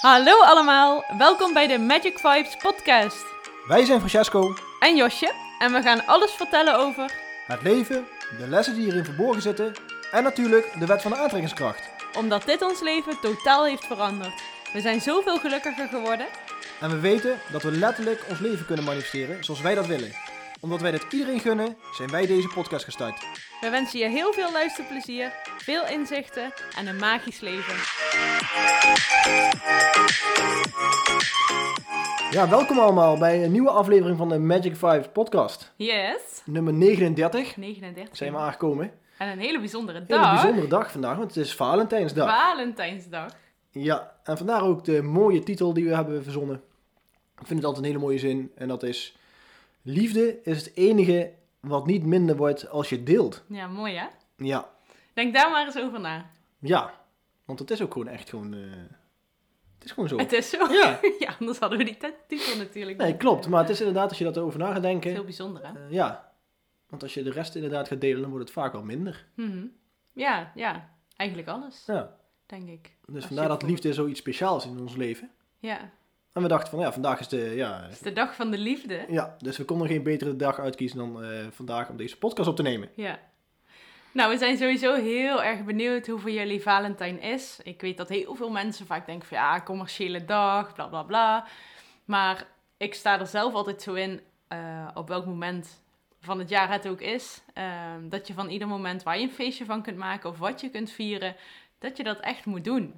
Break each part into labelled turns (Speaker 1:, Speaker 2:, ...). Speaker 1: Hallo allemaal, welkom bij de Magic Vibes podcast.
Speaker 2: Wij zijn Francesco,
Speaker 1: En Josje, en we gaan alles vertellen over...
Speaker 2: het leven, de lessen die hierin verborgen zitten en natuurlijk de wet van de aantrekkingskracht.
Speaker 1: Omdat dit ons leven totaal heeft veranderd. We zijn zoveel gelukkiger geworden.
Speaker 2: En we weten dat we letterlijk ons leven kunnen manifesteren zoals wij dat willen. Omdat wij dat iedereen gunnen, zijn wij deze podcast gestart.
Speaker 1: We wensen je heel veel luisterplezier, veel inzichten en een magisch leven.
Speaker 2: Ja, welkom allemaal bij een nieuwe aflevering van de Magic Vibes podcast.
Speaker 1: Yes.
Speaker 2: Nummer 39
Speaker 1: 39.
Speaker 2: zijn we aangekomen.
Speaker 1: En een hele bijzondere
Speaker 2: Een hele
Speaker 1: dag.
Speaker 2: bijzondere dag vandaag, want het is Valentijnsdag.
Speaker 1: Valentijnsdag.
Speaker 2: Ja, en vandaar ook de mooie titel die we hebben verzonnen. Ik vind het altijd een hele mooie zin en dat is... Liefde is het enige wat niet minder wordt als je deelt.
Speaker 1: Ja, mooi hè?
Speaker 2: Ja,
Speaker 1: Denk daar maar eens over na.
Speaker 2: ja. Want het is ook gewoon echt gewoon... eh, het is gewoon zo.
Speaker 1: Het is zo.
Speaker 2: Ja.
Speaker 1: ja, anders hadden we die t- titel natuurlijk.
Speaker 2: Nee,
Speaker 1: niet.
Speaker 2: klopt. Maar het is inderdaad, als je dat erover na gaat denken...
Speaker 1: Heel bijzonder hè?
Speaker 2: eh, ja. Want als je de rest inderdaad gaat delen, dan wordt het vaak wel minder.
Speaker 1: Mhm. Ja, ja. Eigenlijk alles,
Speaker 2: Ja.
Speaker 1: denk ik. Als
Speaker 2: Dus
Speaker 1: je
Speaker 2: vandaar dat
Speaker 1: voelt-
Speaker 2: liefde zoiets speciaals in ons leven.
Speaker 1: Ja,
Speaker 2: En we dachten van, ja, vandaag is de... Ja,
Speaker 1: het is de dag van de liefde.
Speaker 2: ja, dus we konden geen betere dag uitkiezen dan eh, vandaag om deze podcast op te nemen.
Speaker 1: Ja. Nou, we zijn sowieso heel erg benieuwd hoe voor jullie Valentijn is. Ik weet dat heel veel mensen vaak denken van ja, commerciële dag, bla bla bla. Maar ik sta er zelf altijd zo in, eh, op welk moment van het jaar het ook is, ehm, dat je van ieder moment waar je een feestje van kunt maken of wat je kunt vieren, dat je dat echt moet doen.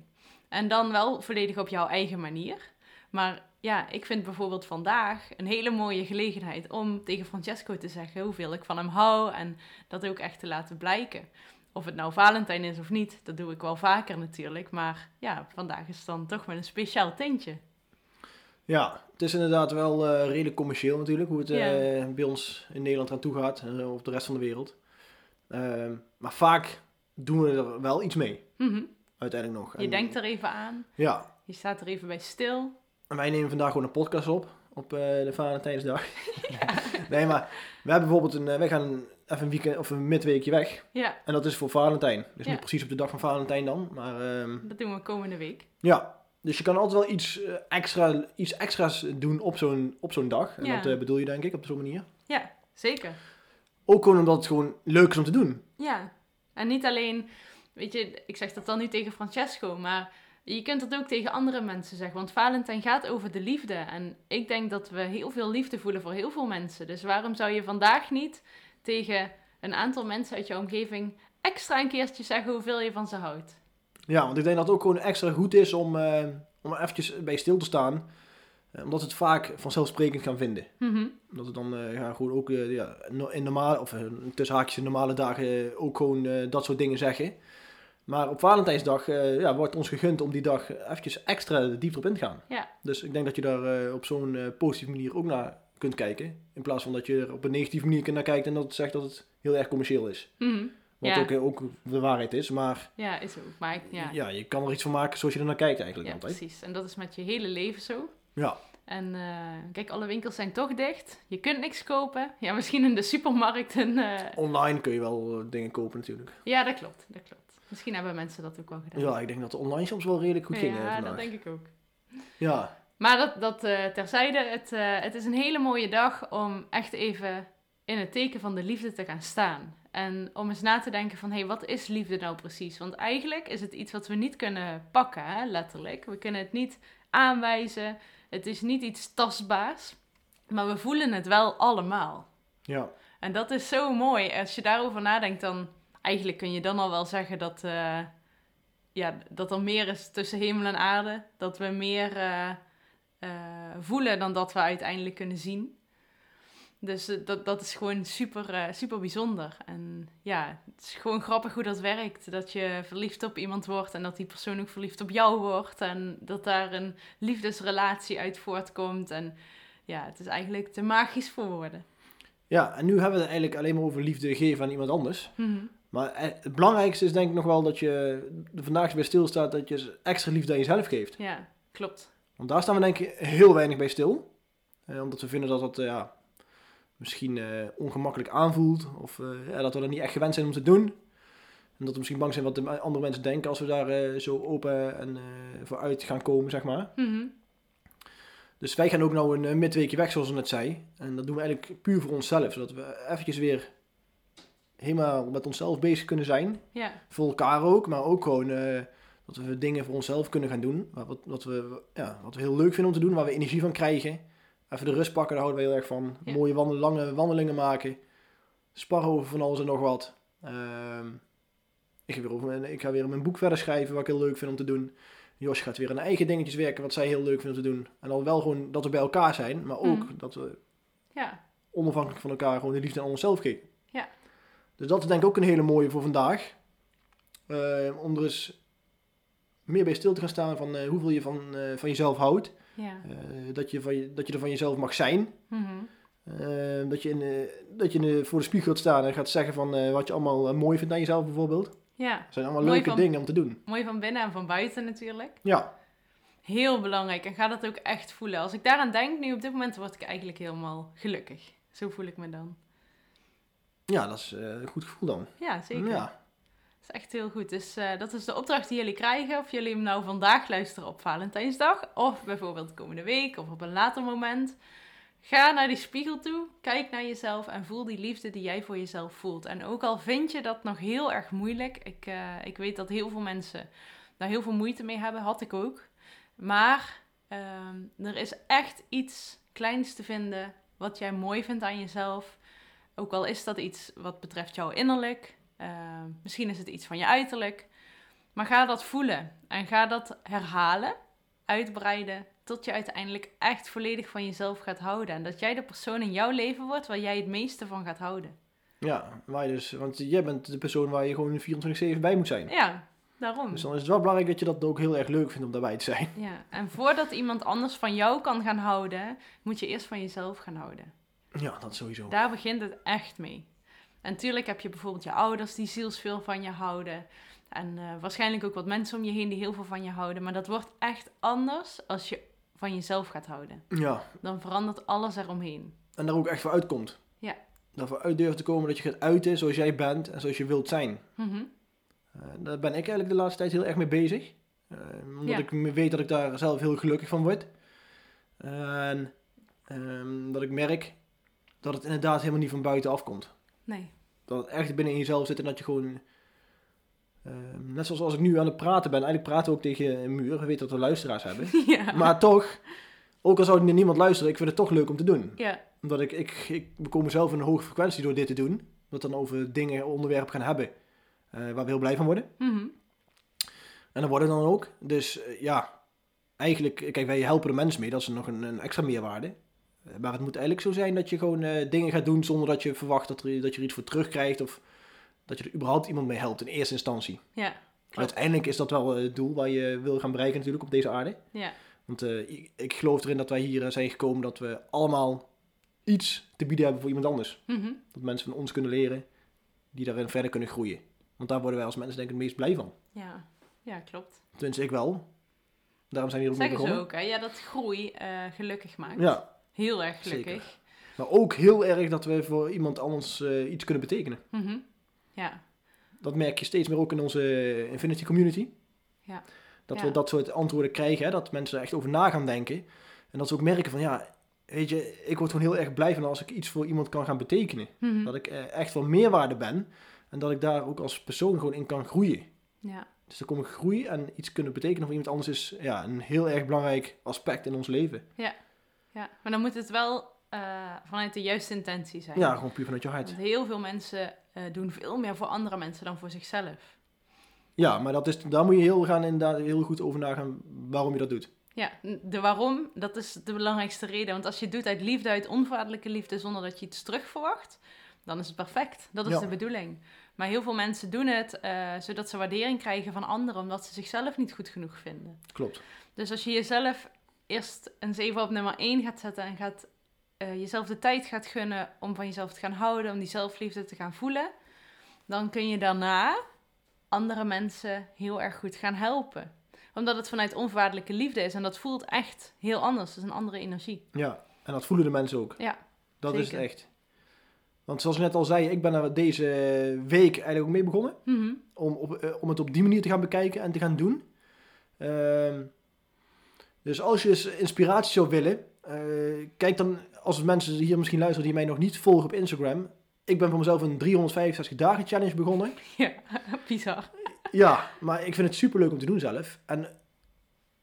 Speaker 1: En dan wel volledig op jouw eigen manier. Maar ja, ik vind bijvoorbeeld vandaag een hele mooie gelegenheid om tegen Francesco te zeggen hoeveel ik van hem hou en dat ook echt te laten blijken. Of het nou Valentijn is of niet, dat doe ik wel vaker natuurlijk. Maar ja, vandaag is het dan toch met een speciaal tintje.
Speaker 2: Ja, het is inderdaad wel eh, redelijk commercieel natuurlijk, hoe het
Speaker 1: Ja.
Speaker 2: eh, bij ons in Nederland aan toe gaat, eh, of de rest van de wereld. Ehm, maar vaak doen we er wel iets mee,
Speaker 1: Mhm.
Speaker 2: uiteindelijk nog.
Speaker 1: Je
Speaker 2: En-
Speaker 1: denkt er even aan,
Speaker 2: Ja,
Speaker 1: je staat er even bij stil.
Speaker 2: en wij nemen vandaag gewoon een podcast op, op eh, de Valentijnsdag. nee, maar we hebben bijvoorbeeld een, eh, wij gaan even een weekend of een midweekje weg.
Speaker 1: Ja,
Speaker 2: En dat is voor Valentijn. Dus
Speaker 1: Ja.
Speaker 2: niet precies op de dag van Valentijn dan, maar ehm,
Speaker 1: dat doen we komende week.
Speaker 2: ja. Dus je kan altijd wel iets, eh, extra, iets extra's doen op zo'n, op zo'n dag. En
Speaker 1: Ja.
Speaker 2: dat eh, bedoel je denk ik op zo'n manier.
Speaker 1: Ja, zeker.
Speaker 2: Ook gewoon omdat het gewoon leuk is om te doen.
Speaker 1: Ja, en niet alleen, weet je, ik zeg dat dan nu tegen Francesco, maar je kunt dat ook tegen andere mensen zeggen. Want Valentijn gaat over de liefde. En ik denk dat we heel veel liefde voelen voor heel veel mensen. Dus waarom zou je vandaag niet tegen een aantal mensen uit je omgeving extra een keertje zeggen hoeveel je van ze houdt?
Speaker 2: Ja, want ik denk dat het ook gewoon extra goed is om, eh, om er eventjes bij stil te staan. Eh, omdat we het vaak vanzelfsprekend gaan vinden.
Speaker 1: Mhm.
Speaker 2: Omdat we dan eh, ja, gewoon ook eh, ja, no- in normale, of eh, tussen haakjes in normale dagen eh, ook gewoon eh, dat soort dingen zeggen. Maar op Valentijnsdag eh, ja, wordt ons gegund om die dag eventjes extra dieper op in te gaan.
Speaker 1: Ja.
Speaker 2: Dus ik denk dat je daar eh, op zo'n eh, positieve manier ook naar kunt kijken. In plaats van dat je er op een negatieve manier naar kijkt en dat het zegt dat het heel erg commercieel is.
Speaker 1: Mhm.
Speaker 2: Wat
Speaker 1: Ja.
Speaker 2: ook, eh, ook de waarheid is, maar
Speaker 1: Ja, is ook. Maar ik, ja,
Speaker 2: ja. je kan er iets van maken zoals je er naar kijkt eigenlijk
Speaker 1: ja,
Speaker 2: altijd.
Speaker 1: precies. En dat is met je hele leven zo.
Speaker 2: Ja,
Speaker 1: En eh, kijk, alle winkels zijn toch dicht. Je kunt niks kopen. Ja, misschien in de supermarkt een, eh,
Speaker 2: online kun je wel eh, dingen kopen natuurlijk. Dus
Speaker 1: Ja, dat klopt, dat klopt. Misschien hebben mensen dat ook wel gedaan.
Speaker 2: Ja, ik denk dat de online soms wel redelijk goed ging eh,
Speaker 1: ja
Speaker 2: vandaag.
Speaker 1: dat denk ik ook.
Speaker 2: Ja,
Speaker 1: Maar dat, dat eh, terzijde, het, eh, het is een hele mooie dag om echt even in het teken van de liefde te gaan staan. En om eens na te denken van, hé, hey, wat is liefde nou precies? Want eigenlijk is het iets wat we niet kunnen pakken, hè, letterlijk. We kunnen het niet aanwijzen. Het is niet iets tastbaars. Maar we voelen het wel allemaal.
Speaker 2: ja,
Speaker 1: En dat is zo mooi. Als je daarover nadenkt, dan eigenlijk kun je dan al wel zeggen dat, eh, ja, dat er meer is tussen hemel en aarde. Dat we meer eh, eh, voelen dan dat we uiteindelijk kunnen zien. Dus eh, dat, dat is gewoon super, eh, super bijzonder. En ja, het is gewoon grappig hoe dat werkt. Dat je verliefd op iemand wordt en dat die persoon ook verliefd op jou wordt. En dat daar een liefdesrelatie uit voortkomt. En ja, het is eigenlijk te magisch voor woorden.
Speaker 2: ja, en nu hebben we het eigenlijk alleen maar over liefde geven aan iemand anders.
Speaker 1: Mhm.
Speaker 2: Maar eh, het belangrijkste is denk ik nog wel dat je er vandaag bij stilstaat dat je extra liefde aan jezelf geeft.
Speaker 1: Ja, klopt.
Speaker 2: Want daar staan we denk ik heel weinig bij stil. Eh, omdat we vinden dat dat eh, ja, misschien eh, ongemakkelijk aanvoelt. Of eh, ja, dat we dat niet echt gewend zijn om te doen. En dat we misschien bang zijn wat de me- andere mensen denken als we daar eh, zo open en eh, voor uit gaan komen, zeg maar.
Speaker 1: Mhm.
Speaker 2: Dus wij gaan ook nou een eh, midweekje weg, zoals ik net zei. En dat doen we eigenlijk puur voor onszelf. Zodat we eventjes weer helemaal met onszelf bezig kunnen zijn.
Speaker 1: Ja,
Speaker 2: Voor elkaar ook, maar ook gewoon eh, dat we dingen voor onszelf kunnen gaan doen. Wat, wat, wat, we, ja, wat we heel leuk vinden om te doen, waar we energie van krijgen. Even de rust pakken, daar houden we heel erg van.
Speaker 1: Ja.
Speaker 2: Mooie wandel, lange wandelingen maken. Sparren over van alles en nog wat. Ehm, ik, ga weer over mijn, ik ga weer mijn boek verder schrijven, wat ik heel leuk vind om te doen. Jos gaat weer aan eigen dingetjes werken, wat zij heel leuk vindt om te doen. En dan wel gewoon dat we bij elkaar zijn, maar ook
Speaker 1: Mhm.
Speaker 2: dat we
Speaker 1: ja,
Speaker 2: onafhankelijk van elkaar gewoon de liefde aan onszelf geven.
Speaker 1: Ja.
Speaker 2: Dus dat is denk ik ook een hele mooie voor vandaag. Eh, om er eens meer bij stil te gaan staan van eh, hoeveel je van, eh, van jezelf houdt.
Speaker 1: ja.
Speaker 2: Eh, dat, je van je, dat je er van jezelf mag zijn.
Speaker 1: Mhm.
Speaker 2: Eh, dat je, in, eh, dat je in de- voor de spiegel gaat staan en gaat zeggen van eh, wat je allemaal eh, mooi vindt aan jezelf bijvoorbeeld.
Speaker 1: ja.
Speaker 2: Dat zijn allemaal
Speaker 1: Mooi
Speaker 2: leuke
Speaker 1: van-
Speaker 2: dingen om te doen.
Speaker 1: Mooi van binnen en van buiten natuurlijk.
Speaker 2: Ja,
Speaker 1: Heel belangrijk en ga dat ook echt voelen. Als ik daaraan denk, nu op dit moment word ik eigenlijk helemaal gelukkig. Zo voel ik me dan.
Speaker 2: ja dat is eh, een goed gevoel dan.
Speaker 1: Ja, zeker.
Speaker 2: Ja.
Speaker 1: Dat is echt heel goed. Dus eh, dat is de opdracht die jullie krijgen. Of jullie hem nou vandaag luisteren op Valentijnsdag. Of bijvoorbeeld komende week of op een later moment. Ga naar die spiegel toe. Kijk naar jezelf en voel die liefde die jij voor jezelf voelt. En ook al vind je dat nog heel erg moeilijk. Ik, eh, ik weet dat heel veel mensen daar heel veel moeite mee hebben. Had ik ook. Maar ehm, er is echt iets kleins te vinden wat jij mooi vindt aan jezelf. Ook al is dat iets wat betreft jouw innerlijk. Eh, misschien is het iets van je uiterlijk. Maar ga dat voelen en ga dat herhalen, uitbreiden, tot je uiteindelijk echt volledig van jezelf gaat houden. En dat jij de persoon in jouw leven wordt waar jij het meeste van gaat houden.
Speaker 2: ja, waar je dus, want jij bent de persoon waar je gewoon 24-7 bij moet zijn.
Speaker 1: Ja, daarom.
Speaker 2: Dus dan is het wel belangrijk dat je dat ook heel erg leuk vindt om daarbij te zijn.
Speaker 1: Ja, en voordat iemand anders van jou kan gaan houden, moet je eerst van jezelf gaan houden.
Speaker 2: Ja, dat sowieso.
Speaker 1: Daar begint het echt mee. En tuurlijk heb je bijvoorbeeld je ouders die zielsveel van je houden. En eh, waarschijnlijk ook wat mensen om je heen die heel veel van je houden. Maar dat wordt echt anders als je van jezelf gaat houden.
Speaker 2: Ja,
Speaker 1: Dan verandert alles eromheen.
Speaker 2: en daar ook echt voor uitkomt.
Speaker 1: Ja.
Speaker 2: Daarvoor uit durft te komen dat je gaat uiten zoals jij bent en zoals je wilt zijn.
Speaker 1: Mhm.
Speaker 2: Eh, daar ben ik eigenlijk de laatste tijd heel erg mee bezig. Eh, omdat
Speaker 1: Ja.
Speaker 2: ik me- weet dat ik daar zelf heel gelukkig van word. En ehm, dat ik merk dat het inderdaad helemaal niet van buiten afkomt.
Speaker 1: Nee.
Speaker 2: Dat het echt binnen in jezelf zit en dat je gewoon... ehm, net zoals als ik nu aan het praten ben. Eigenlijk praten we ook tegen een muur. We weten dat we luisteraars hebben.
Speaker 1: ja.
Speaker 2: Maar toch, ook al zou nu niemand luisteren, ik vind het toch leuk om te doen.
Speaker 1: Ja,
Speaker 2: Omdat ik, ik, ik kom mezelf in een hoge frequentie door dit te doen. Dat dan over dingen, onderwerpen gaan hebben eh, waar we heel blij van worden.
Speaker 1: Mhm.
Speaker 2: En dat worden dan ook. Dus eh, ja, eigenlijk, eh, kijk, wij helpen de mensen mee. Dat is nog een, een extra meerwaarde. Eh, Maar het moet eigenlijk zo zijn dat je gewoon eh, dingen gaat doen zonder dat je verwacht dat, er, dat je er iets voor terugkrijgt. Of dat je er überhaupt iemand mee helpt in eerste instantie.
Speaker 1: ja, Klopt.
Speaker 2: Uiteindelijk is dat wel eh, het doel waar je wil gaan bereiken natuurlijk op deze aarde.
Speaker 1: ja,
Speaker 2: Want eh, ik- ik geloof erin dat wij hier eh, zijn gekomen dat we allemaal iets te bieden hebben voor iemand anders.
Speaker 1: Mhm.
Speaker 2: Dat mensen van ons kunnen leren, die daarin verder kunnen groeien. Want daar worden wij als mensen denk ik het meest blij van.
Speaker 1: ja. Ja, klopt.
Speaker 2: Tenminste, ik wel. Daarom zijn we hier ook mee
Speaker 1: Zeggen ze
Speaker 2: begonnen.
Speaker 1: ook, hè? Ja, dat groei eh, gelukkig maakt.
Speaker 2: Ja,
Speaker 1: Heel erg
Speaker 2: Zeker.
Speaker 1: gelukkig.
Speaker 2: maar ook heel erg dat we voor iemand anders eh, iets kunnen betekenen.
Speaker 1: Mhm. Ja,
Speaker 2: Dat merk je steeds meer ook in onze eh, Infinity Community.
Speaker 1: Ja.
Speaker 2: Dat
Speaker 1: Ja.
Speaker 2: we dat soort antwoorden krijgen, hè, dat mensen er echt over na gaan denken. En dat ze ook merken van, ja, weet je, ik word gewoon heel erg blij van als ik iets voor iemand kan gaan betekenen.
Speaker 1: Mhm.
Speaker 2: Dat ik eh, echt van meerwaarde ben. En dat ik daar ook als persoon gewoon in kan groeien.
Speaker 1: ja,
Speaker 2: Dus er komt groei en iets kunnen betekenen voor iemand anders is ja, een heel erg belangrijk aspect in ons leven.
Speaker 1: ja. Maar dan moet het wel eh, vanuit de juiste intentie zijn.
Speaker 2: Ja, gewoon puur vanuit je hart.
Speaker 1: Want heel veel mensen eh, doen veel meer voor andere mensen dan voor zichzelf.
Speaker 2: Ja, maar dat is, daar moet je heel, gaan, inderdaad heel goed over nagaan waarom je dat doet.
Speaker 1: Ja, de waarom, dat is de belangrijkste reden. Want als je het doet uit liefde, uit onvoorwaardelijke liefde, zonder dat je iets terug verwacht, dan is het perfect. Dat is
Speaker 2: Ja.
Speaker 1: de bedoeling. Maar heel veel mensen doen het eh, zodat ze waardering krijgen van anderen, omdat ze zichzelf niet goed genoeg vinden.
Speaker 2: Klopt.
Speaker 1: Dus als je jezelf eerst eens even op nummer 1 gaat zetten en gaat, eh, jezelf de tijd gaat gunnen om van jezelf te gaan houden, om die zelfliefde te gaan voelen, dan kun je daarna andere mensen heel erg goed gaan helpen. Omdat het vanuit onvoorwaardelijke liefde is en dat voelt echt heel anders. Dat is een andere energie.
Speaker 2: Ja, en dat voelen de mensen ook.
Speaker 1: Ja,
Speaker 2: Dat is
Speaker 1: zeker.
Speaker 2: het echt. Want zoals ik net al zei, ik ben er deze week eigenlijk ook mee begonnen.
Speaker 1: Mhm.
Speaker 2: Om, op, eh, om het op die manier te gaan bekijken en te gaan doen. Ehm, dus als je eens inspiratie zou willen, eh, kijk dan, als mensen hier misschien luisteren die mij nog niet volgen op Instagram. Ik ben voor mezelf een 365 dagen challenge begonnen.
Speaker 1: Ja, bizar.
Speaker 2: Ja, maar ik vind het superleuk om te doen zelf. En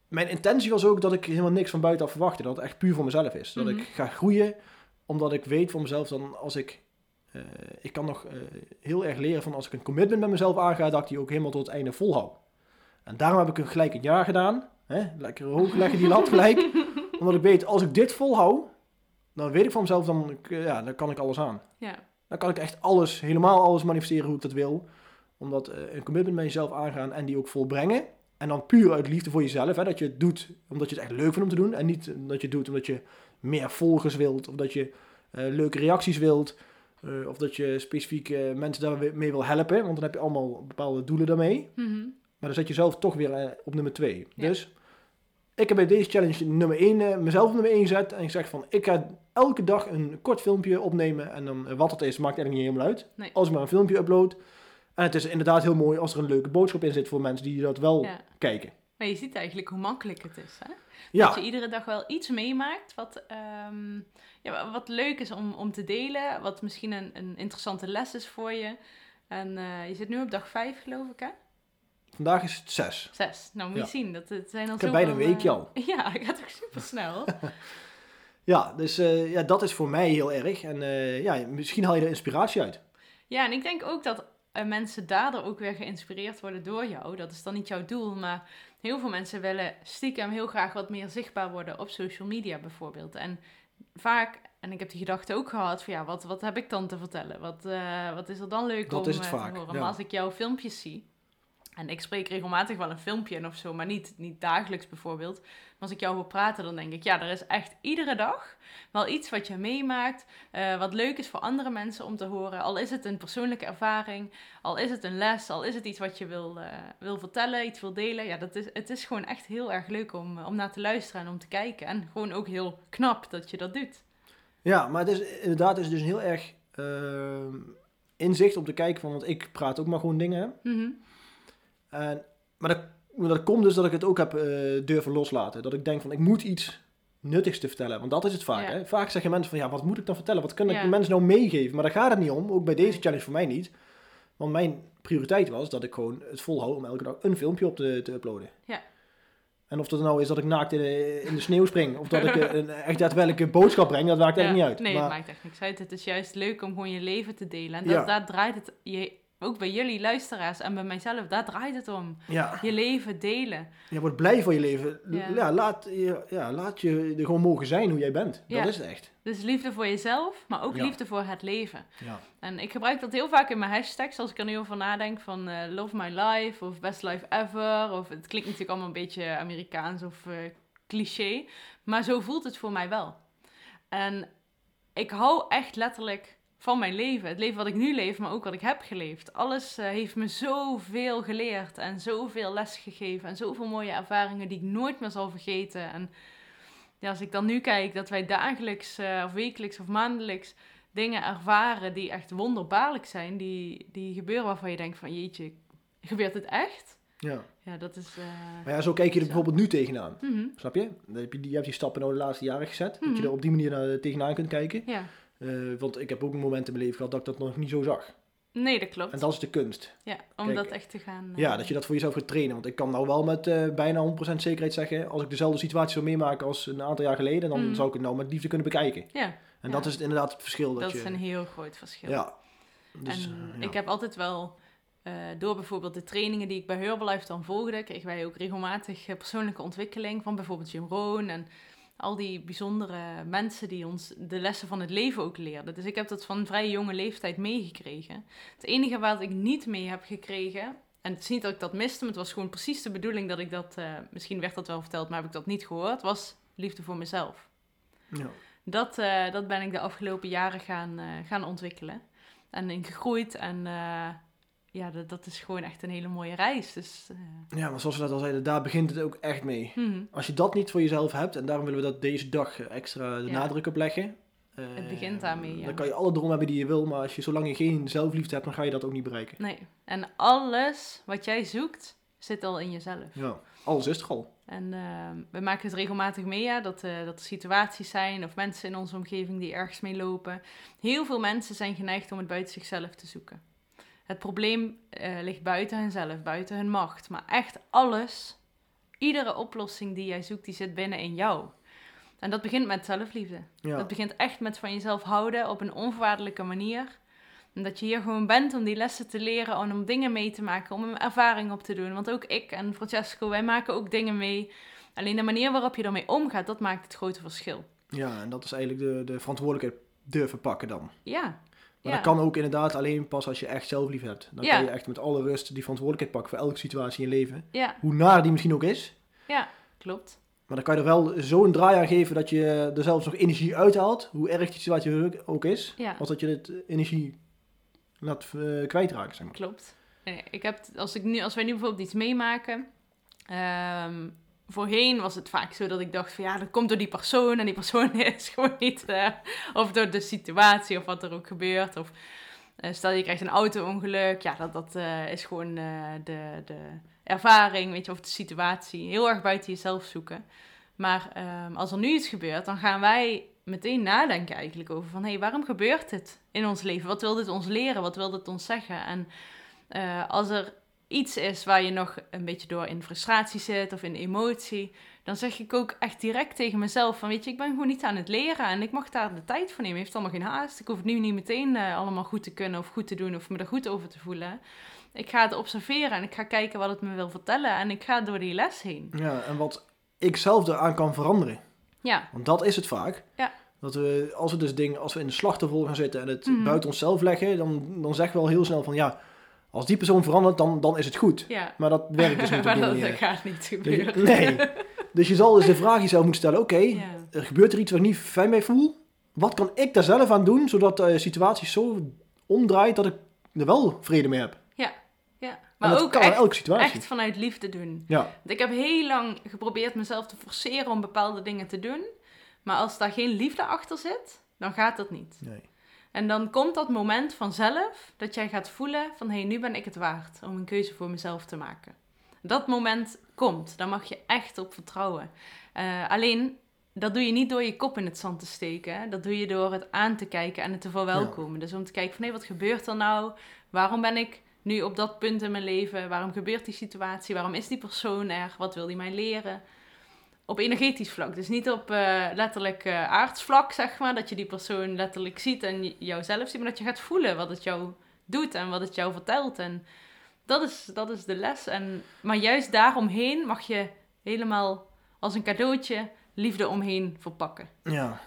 Speaker 2: mijn intentie was ook dat ik helemaal niks van buitenaf verwachtte. Dat het echt puur voor mezelf is. Dat
Speaker 1: Mhm.
Speaker 2: ik ga groeien, omdat ik weet voor mezelf dan als ik... eh, ik kan nog eh, heel erg leren van als ik een commitment met mezelf aanga, dat ik die ook helemaal tot het einde volhoud. En daarom heb ik een gelijk een jaar gedaan. Hè? Lekker hoog leggen die lat gelijk. omdat ik weet, als ik dit volhoud, dan weet ik van mezelf, dan, eh, ja, dan kan ik alles aan.
Speaker 1: Ja.
Speaker 2: Dan kan ik echt alles, helemaal alles manifesteren hoe ik dat wil. Omdat eh, een commitment met jezelf aangaan en die ook volbrengen. En dan puur uit liefde voor jezelf. Hè, dat je het doet omdat je het echt leuk vindt om te doen. En niet eh, dat je het doet omdat je meer volgers wilt. Of dat je eh, leuke reacties wilt. eh, of dat je specifiek eh, mensen daarmee wil helpen. Want dan heb je allemaal bepaalde doelen daarmee.
Speaker 1: Mhm.
Speaker 2: Maar dan zet je zelf toch weer eh, op nummer 2.
Speaker 1: Ja.
Speaker 2: Dus ik heb bij deze challenge nummer 1, mezelf op nummer 1 gezet. En ik zeg van, ik ga elke dag een kort filmpje opnemen. En dan, eh, wat het is, maakt eigenlijk niet helemaal uit.
Speaker 1: Nee.
Speaker 2: Als ik maar een filmpje upload. En het is inderdaad heel mooi als er een leuke boodschap in zit voor mensen die dat wel
Speaker 1: Ja.
Speaker 2: kijken.
Speaker 1: Maar je ziet eigenlijk hoe makkelijk het is, hè? Dat
Speaker 2: Ja,
Speaker 1: je iedere dag wel iets meemaakt wat, ehm, ja, wat leuk is om, om te delen. Wat misschien een, een interessante les is voor je. En eh, je zit nu op dag 5, geloof ik, hè?
Speaker 2: vandaag is het 6.
Speaker 1: Zes. Nou, moet je
Speaker 2: Ja.
Speaker 1: zien. Dat, het zijn al
Speaker 2: Ik heb bijna een
Speaker 1: zoveel,
Speaker 2: weekje
Speaker 1: eh,
Speaker 2: al.
Speaker 1: Ja, het gaat ook super snel.
Speaker 2: Ja, dus eh, ja, dat is voor mij heel erg. En eh, ja, misschien haal je er inspiratie uit.
Speaker 1: ja, en ik denk ook dat eh, mensen daardoor ook weer geïnspireerd worden door jou. Dat is dan niet jouw doel, maar heel veel mensen willen stiekem heel graag wat meer zichtbaar worden op social media bijvoorbeeld. En vaak, en ik heb die gedachte ook gehad van ja, wat, wat heb ik dan te vertellen? Wat, eh, wat is er dan leuk
Speaker 2: Dat
Speaker 1: om
Speaker 2: is het
Speaker 1: eh,
Speaker 2: vaak,
Speaker 1: te horen?
Speaker 2: ja.
Speaker 1: Maar als ik jouw filmpjes zie... En ik spreek regelmatig wel een filmpje in of zo, maar niet, niet dagelijks bijvoorbeeld. Maar als ik jou hoor praten, dan denk ik, ja, er is echt iedere dag wel iets wat je meemaakt, eh, wat leuk is voor andere mensen om te horen. Al is het een persoonlijke ervaring, al is het een les, al is het iets wat je wil, eh, wil vertellen, iets wil delen. Ja, dat is, het is gewoon echt heel erg leuk om, eh, om naar te luisteren en om te kijken. En gewoon ook heel knap dat je dat doet.
Speaker 2: Ja, maar het is, inderdaad is het dus een heel erg eh, inzicht om te kijken van... Want ik praat ook maar gewoon dingen, hè.
Speaker 1: Mhm.
Speaker 2: En, maar dat, maar dat komt dus dat ik het ook heb eh, durven loslaten. Dat ik denk van, ik moet iets nuttigs te vertellen. Want dat is het vaak.
Speaker 1: Ja.
Speaker 2: Hè? Vaak zeggen mensen van, ja, wat moet ik dan vertellen? Wat kan ik
Speaker 1: Ja.
Speaker 2: de mensen nou meegeven? Maar daar gaat het niet om. Ook bij deze
Speaker 1: Nee.
Speaker 2: challenge voor mij niet. Want mijn prioriteit was dat ik gewoon het volhoud om elke dag een filmpje op te, te uploaden.
Speaker 1: Ja.
Speaker 2: En of dat nou is dat ik naakt in de, in de sneeuw spring. Of dat ik eh, een echt daadwerkelijke boodschap breng. Dat maakt eigenlijk
Speaker 1: Ja,
Speaker 2: niet uit.
Speaker 1: Nee,
Speaker 2: maar,
Speaker 1: het maakt echt niks uit. Het is juist leuk om gewoon je leven te delen. En dat,
Speaker 2: Ja.
Speaker 1: daar draait het, je, ook bij jullie luisteraars en bij mijzelf, daar draait het om.
Speaker 2: ja,
Speaker 1: Je leven delen.
Speaker 2: je wordt blij van je leven.
Speaker 1: Ja.
Speaker 2: Ja. laat, je- ja, laat je er gewoon mogen zijn hoe jij bent.
Speaker 1: Ja.
Speaker 2: Dat is het echt.
Speaker 1: Dus liefde voor jezelf, maar ook
Speaker 2: Ja.
Speaker 1: liefde voor het leven.
Speaker 2: Ja.
Speaker 1: En ik gebruik dat heel vaak in mijn hashtags, als ik er nu over nadenk, van eh, love my life of best life ever. Of het klinkt natuurlijk allemaal een beetje Amerikaans of eh, cliché, maar zo voelt het voor mij wel. En ik hou echt letterlijk van mijn leven. Het leven wat ik nu leef, maar ook wat ik heb geleefd. Alles eh, heeft me zoveel geleerd en zoveel les gegeven en zoveel mooie ervaringen die ik nooit meer zal vergeten. En ja, als ik dan nu kijk dat wij dagelijks eh, of wekelijks of maandelijks dingen ervaren die echt wonderbaarlijk zijn, die, die gebeuren waarvan je denkt van jeetje, gebeurt het echt?
Speaker 2: Ja.
Speaker 1: Ja, dat is... eh,
Speaker 2: Maar ja, zo kijk je er
Speaker 1: Zo.
Speaker 2: bijvoorbeeld nu tegenaan.
Speaker 1: mhm,
Speaker 2: Snap je? Dan heb je, die, je hebt die stappen nou de laatste jaren gezet. Dat
Speaker 1: Mhm.
Speaker 2: je er op die manier naar, eh, tegenaan kunt kijken.
Speaker 1: ja.
Speaker 2: Eh, want ik heb ook momenten in mijn leven gehad dat ik dat nog niet zo zag.
Speaker 1: Nee, dat klopt.
Speaker 2: En dat is de kunst.
Speaker 1: Ja, om
Speaker 2: Kijk,
Speaker 1: dat echt te gaan... eh,
Speaker 2: Ja, dat je dat voor jezelf gaat trainen. Want ik kan nou wel met eh, bijna 100% zekerheid zeggen... als ik dezelfde situatie zou meemaken als een aantal jaar geleden... dan
Speaker 1: Mhm.
Speaker 2: zou ik het nou met liefde kunnen bekijken.
Speaker 1: Ja,
Speaker 2: En
Speaker 1: Ja.
Speaker 2: dat is het inderdaad het verschil.
Speaker 1: dat,
Speaker 2: Dat, je,
Speaker 1: is een heel groot verschil.
Speaker 2: Ja. Dus,
Speaker 1: en
Speaker 2: eh, ja.
Speaker 1: ik heb altijd wel, eh, door bijvoorbeeld de trainingen die ik bij Herbalife dan volgde, kregen wij ook regelmatig eh, persoonlijke ontwikkeling van bijvoorbeeld Jim Rohn en al die bijzondere mensen die ons de lessen van het leven ook leerden. Dus ik heb dat van vrij jonge leeftijd meegekregen. Het enige wat ik niet mee heb gekregen, en het is niet dat ik dat miste, maar het was gewoon precies de bedoeling dat ik dat, eh, misschien werd dat wel verteld, maar heb ik dat niet gehoord, was liefde voor mezelf.
Speaker 2: ja.
Speaker 1: Dat, eh, dat ben ik de afgelopen jaren gaan, eh, gaan ontwikkelen. En in gegroeid. En eh, ja, dat, dat is gewoon echt een hele mooie reis. Dus, eh,
Speaker 2: ja, maar zoals we dat al zeiden, daar begint het ook echt mee.
Speaker 1: mhm.
Speaker 2: Als je dat niet voor jezelf hebt, en daarom willen we dat deze dag eh, extra de
Speaker 1: Ja.
Speaker 2: nadruk op leggen. Eh,
Speaker 1: Het begint daarmee, ja.
Speaker 2: Dan kan je alle droom hebben die je wil, maar als je, zolang je geen zelfliefde hebt, dan ga je dat ook niet bereiken.
Speaker 1: Nee. En alles wat jij zoekt, zit al in jezelf.
Speaker 2: Ja, alles is er al.
Speaker 1: En ehm, we maken het regelmatig mee, ja, dat, eh, dat er situaties zijn of mensen in onze omgeving die ergens mee lopen. Heel veel mensen zijn geneigd om het buiten zichzelf te zoeken. Het probleem eh, ligt buiten hunzelf, buiten hun macht. Maar echt alles, iedere oplossing die jij zoekt, die zit binnen in jou. En dat begint met zelfliefde.
Speaker 2: Ja.
Speaker 1: Dat begint echt met van jezelf houden op een onvoorwaardelijke manier. En dat je hier gewoon bent om die lessen te leren en om dingen mee te maken, om een ervaring op te doen. Want ook ik en Francesco, wij maken ook dingen mee. Alleen de manier waarop je ermee omgaat, dat maakt het grote verschil.
Speaker 2: ja, en dat is eigenlijk de, de verantwoordelijkheid durven pakken dan.
Speaker 1: Ja.
Speaker 2: Maar
Speaker 1: ja.
Speaker 2: dat kan ook inderdaad alleen pas als je echt zelfliefde hebt. Dan
Speaker 1: Ja.
Speaker 2: kan je echt met alle rust die verantwoordelijkheid pakken voor elke situatie in je leven.
Speaker 1: Ja,
Speaker 2: Hoe naar die misschien ook is.
Speaker 1: ja, klopt.
Speaker 2: Maar dan kan je er wel zo'n draai aan geven dat je er zelfs nog energie uithaalt. Hoe erg die situatie ook- ook is.
Speaker 1: Ja,
Speaker 2: Als dat je het eh, energie laat eh, kwijtraken, zeg maar.
Speaker 1: klopt. Nee, ik heb, t- als, ik nu, als wij nu bijvoorbeeld iets meemaken, ehm, voorheen was het vaak zo dat ik dacht van ja, dat komt door die persoon en die persoon is gewoon niet, eh, of door de situatie of wat er ook gebeurt. Of eh, stel je krijgt een auto-ongeluk, ja, dat, dat eh, is gewoon eh, de, de ervaring, weet je, of de situatie. Heel erg buiten jezelf zoeken. Maar ehm, als er nu iets gebeurt, dan gaan wij meteen nadenken eigenlijk over van hé, hey, waarom gebeurt dit in ons leven? Wat wil dit ons leren? Wat wil dit ons zeggen? En eh, als er iets is waar je nog een beetje door in frustratie zit of in emotie, dan zeg ik ook echt direct tegen mezelf van weet je, ik ben gewoon niet aan het leren en ik mag daar de tijd voor nemen. Heeft allemaal geen haast. Ik hoef het nu niet meteen eh, allemaal goed te kunnen of goed te doen of me er goed over te voelen. Ik ga het observeren en ik ga kijken wat het me wil vertellen en ik ga door die les heen.
Speaker 2: Ja, en wat ik zelf daaraan kan veranderen.
Speaker 1: Ja,
Speaker 2: Want dat is het vaak.
Speaker 1: Ja.
Speaker 2: Dat we, als we dus dingen, als we in de slachtofferrol gaan zitten en het
Speaker 1: Mhm.
Speaker 2: buiten onszelf leggen, dan, dan zeggen we al heel snel van ja, als die persoon verandert, dan, dan is het goed.
Speaker 1: ja.
Speaker 2: Maar dat werkt dus niet op
Speaker 1: maar
Speaker 2: die
Speaker 1: dat,
Speaker 2: manier.
Speaker 1: gaat niet
Speaker 2: Dus je-
Speaker 1: gebeuren.
Speaker 2: nee. Dus je zal dus de vraag jezelf moeten stellen, oké,
Speaker 1: Ja.
Speaker 2: er gebeurt er iets waar ik niet fijn bij voel. Wat kan ik daar zelf aan doen, zodat de situatie zo omdraait dat ik er wel vrede mee heb?
Speaker 1: Ja.
Speaker 2: Maar
Speaker 1: Maar
Speaker 2: dat
Speaker 1: ook
Speaker 2: kan in
Speaker 1: echt,
Speaker 2: elke situatie.
Speaker 1: echt vanuit liefde doen.
Speaker 2: Ja,
Speaker 1: Want ik heb heel lang geprobeerd mezelf te forceren om bepaalde dingen te doen. Maar als daar geen liefde achter zit, dan gaat dat niet.
Speaker 2: nee.
Speaker 1: En dan komt dat moment vanzelf dat jij gaat voelen van... hé, hey, nu ben ik het waard om een keuze voor mezelf te maken. Dat moment komt. Daar mag je echt op vertrouwen. Eh, alleen, dat doe je niet door je kop in het zand te steken. hè. Dat doe je door het aan te kijken en het te verwelkomen. Dus om te kijken van, hé, wat gebeurt er nou? Waarom ben ik nu op dat punt in mijn leven? Waarom gebeurt die situatie? Waarom is die persoon er? Wat wil die mij leren? Op energetisch vlak. Dus niet op eh, letterlijk eh aardsvlak, zeg maar. Dat je die persoon letterlijk ziet en j- jouzelf ziet. Maar dat je gaat voelen wat het jou doet en wat het jou vertelt. En dat is, dat is de les. En, maar juist daaromheen mag je helemaal als een cadeautje liefde omheen verpakken.
Speaker 2: Ja.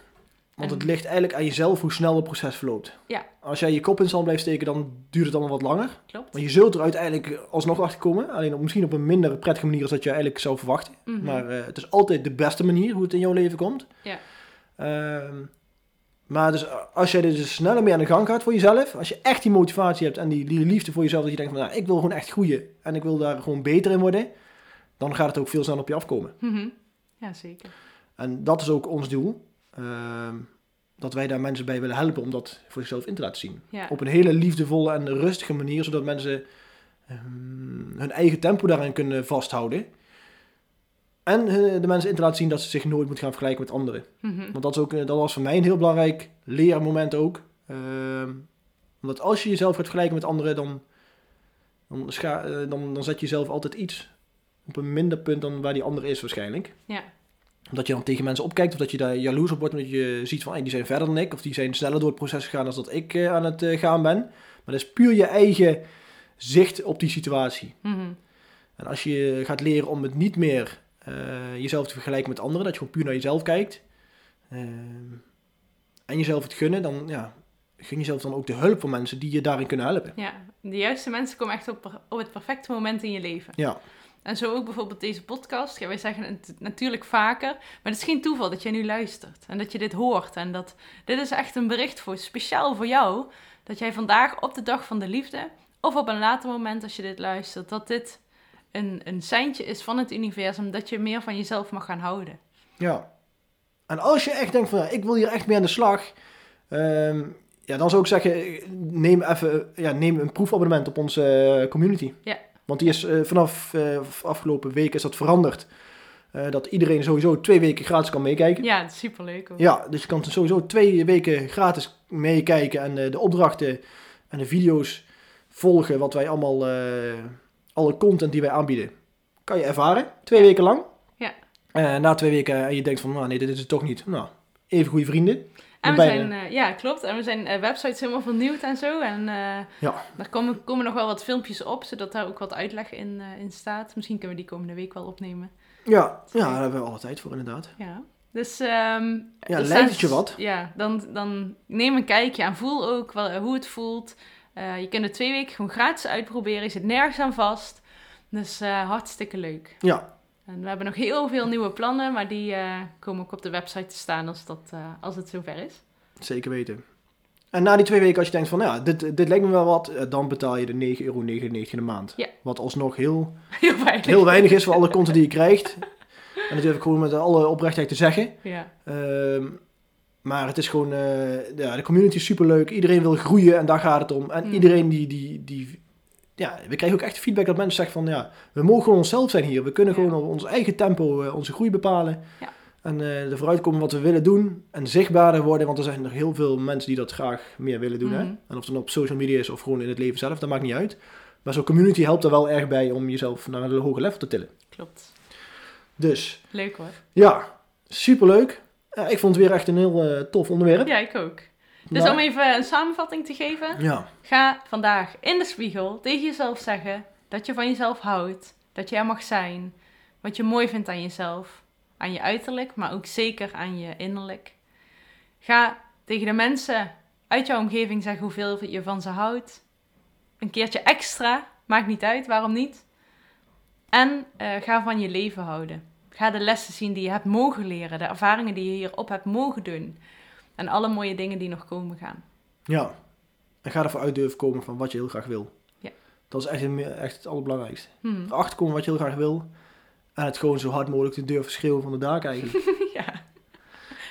Speaker 2: Want het
Speaker 1: En-
Speaker 2: ligt eigenlijk aan jezelf hoe snel het proces verloopt.
Speaker 1: Ja.
Speaker 2: Als jij je kop in het zand blijft steken, dan duurt het allemaal wat langer.
Speaker 1: Klopt?
Speaker 2: Maar je zult er uiteindelijk alsnog achter komen. Alleen op, misschien op een minder prettige manier als dat je eigenlijk zou verwachten.
Speaker 1: Mhm.
Speaker 2: Maar eh, het is altijd de beste manier hoe het in jouw leven komt.
Speaker 1: Ja.
Speaker 2: Ehm, maar dus eh, als jij er dus sneller mee aan de gang gaat voor jezelf, als je echt die motivatie hebt en die, die liefde voor jezelf, dat je denkt van nou, ik wil gewoon echt groeien en ik wil daar gewoon beter in worden, dan gaat het ook veel sneller op je afkomen.
Speaker 1: Mhm. Ja, zeker.
Speaker 2: En dat is ook ons doel, ehm, dat wij daar mensen bij willen helpen om dat voor zichzelf in te laten zien.
Speaker 1: Ja.
Speaker 2: Op een hele liefdevolle en rustige manier, zodat mensen ehm, hun eigen tempo daarin kunnen vasthouden. En eh, de mensen in te laten zien dat ze zich nooit moeten gaan vergelijken met anderen.
Speaker 1: Mhm.
Speaker 2: Want dat, is ook, eh, dat was voor mij een heel belangrijk leermoment ook. Ehm, omdat als je jezelf gaat vergelijken met anderen, dan, dan, scha- eh, dan, dan zet je jezelf altijd iets op een minder punt dan waar die ander is waarschijnlijk.
Speaker 1: Ja.
Speaker 2: Omdat je dan tegen mensen opkijkt of dat je daar jaloers op wordt omdat je ziet van hey, die zijn verder dan ik of die zijn sneller door het proces gegaan dan dat ik eh, aan het eh, gaan ben. Maar dat is puur je eigen zicht op die situatie.
Speaker 1: Mhm.
Speaker 2: En als je gaat leren om het niet meer eh, jezelf te vergelijken met anderen, dat je gewoon puur naar jezelf kijkt ehm, en jezelf het gunnen, dan ja, gun jezelf dan ook de hulp van mensen die je daarin kunnen helpen.
Speaker 1: Ja, de juiste mensen komen echt op, op het perfecte moment in je leven.
Speaker 2: Ja.
Speaker 1: En zo ook bijvoorbeeld deze podcast. Ja, wij zeggen het natuurlijk vaker, maar het is geen toeval dat jij nu luistert en dat je dit hoort. En dat dit is echt een bericht voor, speciaal voor jou, dat jij vandaag op de dag van de liefde of op een later moment als je dit luistert, dat dit een, een seintje is van het universum dat je meer van jezelf mag gaan houden.
Speaker 2: ja. En als je echt denkt van, ja, ik wil hier echt mee aan de slag, Ehm, ja, dan zou ik zeggen, neem even ja, neem een proefabonnement op onze eh, community.
Speaker 1: Ja.
Speaker 2: Want die is eh, vanaf eh, afgelopen week is dat veranderd. Eh, dat iedereen sowieso twee weken gratis kan meekijken.
Speaker 1: Ja, het is superleuk hoor.
Speaker 2: Ja, dus je kan sowieso twee weken gratis meekijken en eh, de opdrachten en de video's volgen wat wij allemaal, eh, alle content die wij aanbieden, kan je ervaren. Twee weken lang.
Speaker 1: Ja.
Speaker 2: En na twee weken en je denkt van, nou nee, dit is het toch niet. Nou, even goede vrienden.
Speaker 1: En we
Speaker 2: Bijna.
Speaker 1: zijn, eh, ja, klopt. En we zijn eh, websites helemaal vernieuwd en zo. En eh
Speaker 2: Ja.
Speaker 1: daar komen, komen nog wel wat filmpjes op, zodat daar ook wat uitleg in, eh, in staat. Misschien kunnen we die komende week wel opnemen.
Speaker 2: Ja, ja daar hebben we alle tijd voor inderdaad.
Speaker 1: Ja. Dus ehm,
Speaker 2: Ja,
Speaker 1: er
Speaker 2: lijkt
Speaker 1: staan-
Speaker 2: het je wat?
Speaker 1: Ja, dan, dan neem een kijkje en voel ook wel, hoe het voelt. Eh, je kunt het twee weken gewoon gratis uitproberen. Je zit nergens aan vast. Dus eh, hartstikke leuk.
Speaker 2: Ja.
Speaker 1: En we hebben nog heel veel nieuwe plannen, maar die eh, komen ook op de website te staan als, dat, eh, als het zover is.
Speaker 2: Zeker weten. En na die twee weken, als je denkt van, nou ja, dit, dit lijkt me wel wat, eh, dan betaal je de 9,99 euro in de maand.
Speaker 1: Ja.
Speaker 2: Wat alsnog heel
Speaker 1: Heel weinig.
Speaker 2: heel weinig is voor alle content die je krijgt. En dat durf ik gewoon met alle oprechtheid te zeggen.
Speaker 1: Ja,
Speaker 2: Ehm, maar het is gewoon, eh, ja, de community is superleuk. Iedereen wil groeien en daar gaat het om. En
Speaker 1: Mm.
Speaker 2: iedereen die, die, die, ja, we krijgen ook echt feedback dat mensen zeggen van, ja, we mogen gewoon onszelf zijn hier. We kunnen
Speaker 1: Ja.
Speaker 2: gewoon op ons eigen tempo eh, onze groei bepalen.
Speaker 1: Ja.
Speaker 2: En eh er vooruit komen wat we willen doen. En zichtbaarder worden, want er zijn nog heel veel mensen die dat graag meer willen doen.
Speaker 1: Mhm.
Speaker 2: Hè? En of het dan op social media is of gewoon in het leven zelf, dat maakt niet uit. Maar zo'n community helpt er wel erg bij om jezelf naar een hoger level te tillen.
Speaker 1: klopt.
Speaker 2: Dus
Speaker 1: Leuk hoor.
Speaker 2: ja, superleuk. Eh, ik vond het weer echt een heel eh, tof onderwerp.
Speaker 1: Ja, ik ook. Dus
Speaker 2: Maar-
Speaker 1: om even een samenvatting te geven.
Speaker 2: ja,
Speaker 1: Ga vandaag in de spiegel tegen jezelf zeggen dat je van jezelf houdt, dat je er mag zijn, wat je mooi vindt aan jezelf, aan je uiterlijk, maar ook zeker aan je innerlijk. Ga tegen de mensen uit jouw omgeving zeggen hoeveel je van ze houdt. Een keertje extra, maakt niet uit, waarom niet? En eh, ga van je leven houden. Ga de lessen zien die je hebt mogen leren, de ervaringen die je hierop hebt mogen doen. En alle mooie dingen die nog komen gaan.
Speaker 2: ja. En ga ervoor uit durven komen van wat je heel graag wil.
Speaker 1: Ja.
Speaker 2: Dat is echt, een- echt het allerbelangrijkste.
Speaker 1: Hmm.
Speaker 2: Erachter komen wat je heel graag wil. En het gewoon zo hard mogelijk te durven schreeuwen van de daak eigenlijk.
Speaker 1: Ja.
Speaker 2: Ja.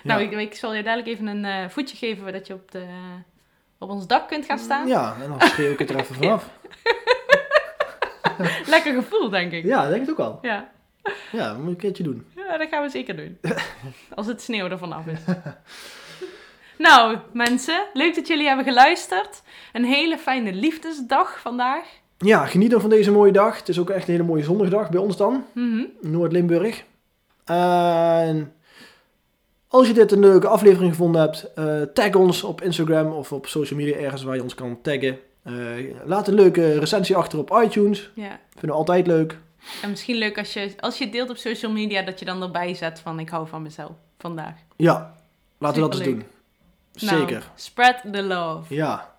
Speaker 1: Nou, ik, ik zal je dadelijk even een eh, voetje geven dat je op, de, op ons dak kunt gaan staan.
Speaker 2: Ja, en dan schreeuw ik het er even vanaf.
Speaker 1: Lekker gevoel, denk ik. Ja.
Speaker 2: Ja, dat denk ik ook al.
Speaker 1: Ja.
Speaker 2: Ja, dat moet ik een keertje doen.
Speaker 1: dat gaan we zeker doen. Als het sneeuw er vanaf is. nou, mensen, leuk dat jullie hebben geluisterd. Een hele fijne liefdesdag vandaag.
Speaker 2: Ja, geniet dan van deze mooie dag. Het is ook echt een hele mooie zondagdag bij ons dan.
Speaker 1: Mhm.
Speaker 2: Noord-Limburg. En als je dit een leuke aflevering gevonden hebt, eh, tag ons op Instagram of op social media ergens waar je ons kan taggen. Eh, laat een leuke recensie achter op iTunes.
Speaker 1: Ja.
Speaker 2: Vinden we altijd leuk.
Speaker 1: En misschien leuk als je, als je het deelt op social media, dat je dan erbij zet van ik hou van mezelf vandaag.
Speaker 2: Ja, laten we dat eens
Speaker 1: Superleuk.
Speaker 2: doen.
Speaker 1: Nou,
Speaker 2: Zeker.
Speaker 1: Spread the love.
Speaker 2: Ja.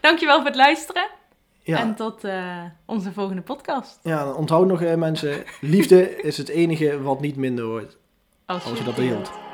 Speaker 1: Dankjewel voor het luisteren.
Speaker 2: Ja.
Speaker 1: En tot eh, onze volgende podcast.
Speaker 2: ja, onthoud nog eh, mensen, liefde is het enige wat niet minder wordt
Speaker 1: Als,
Speaker 2: als
Speaker 1: je
Speaker 2: je dat
Speaker 1: deelt.
Speaker 2: deelt.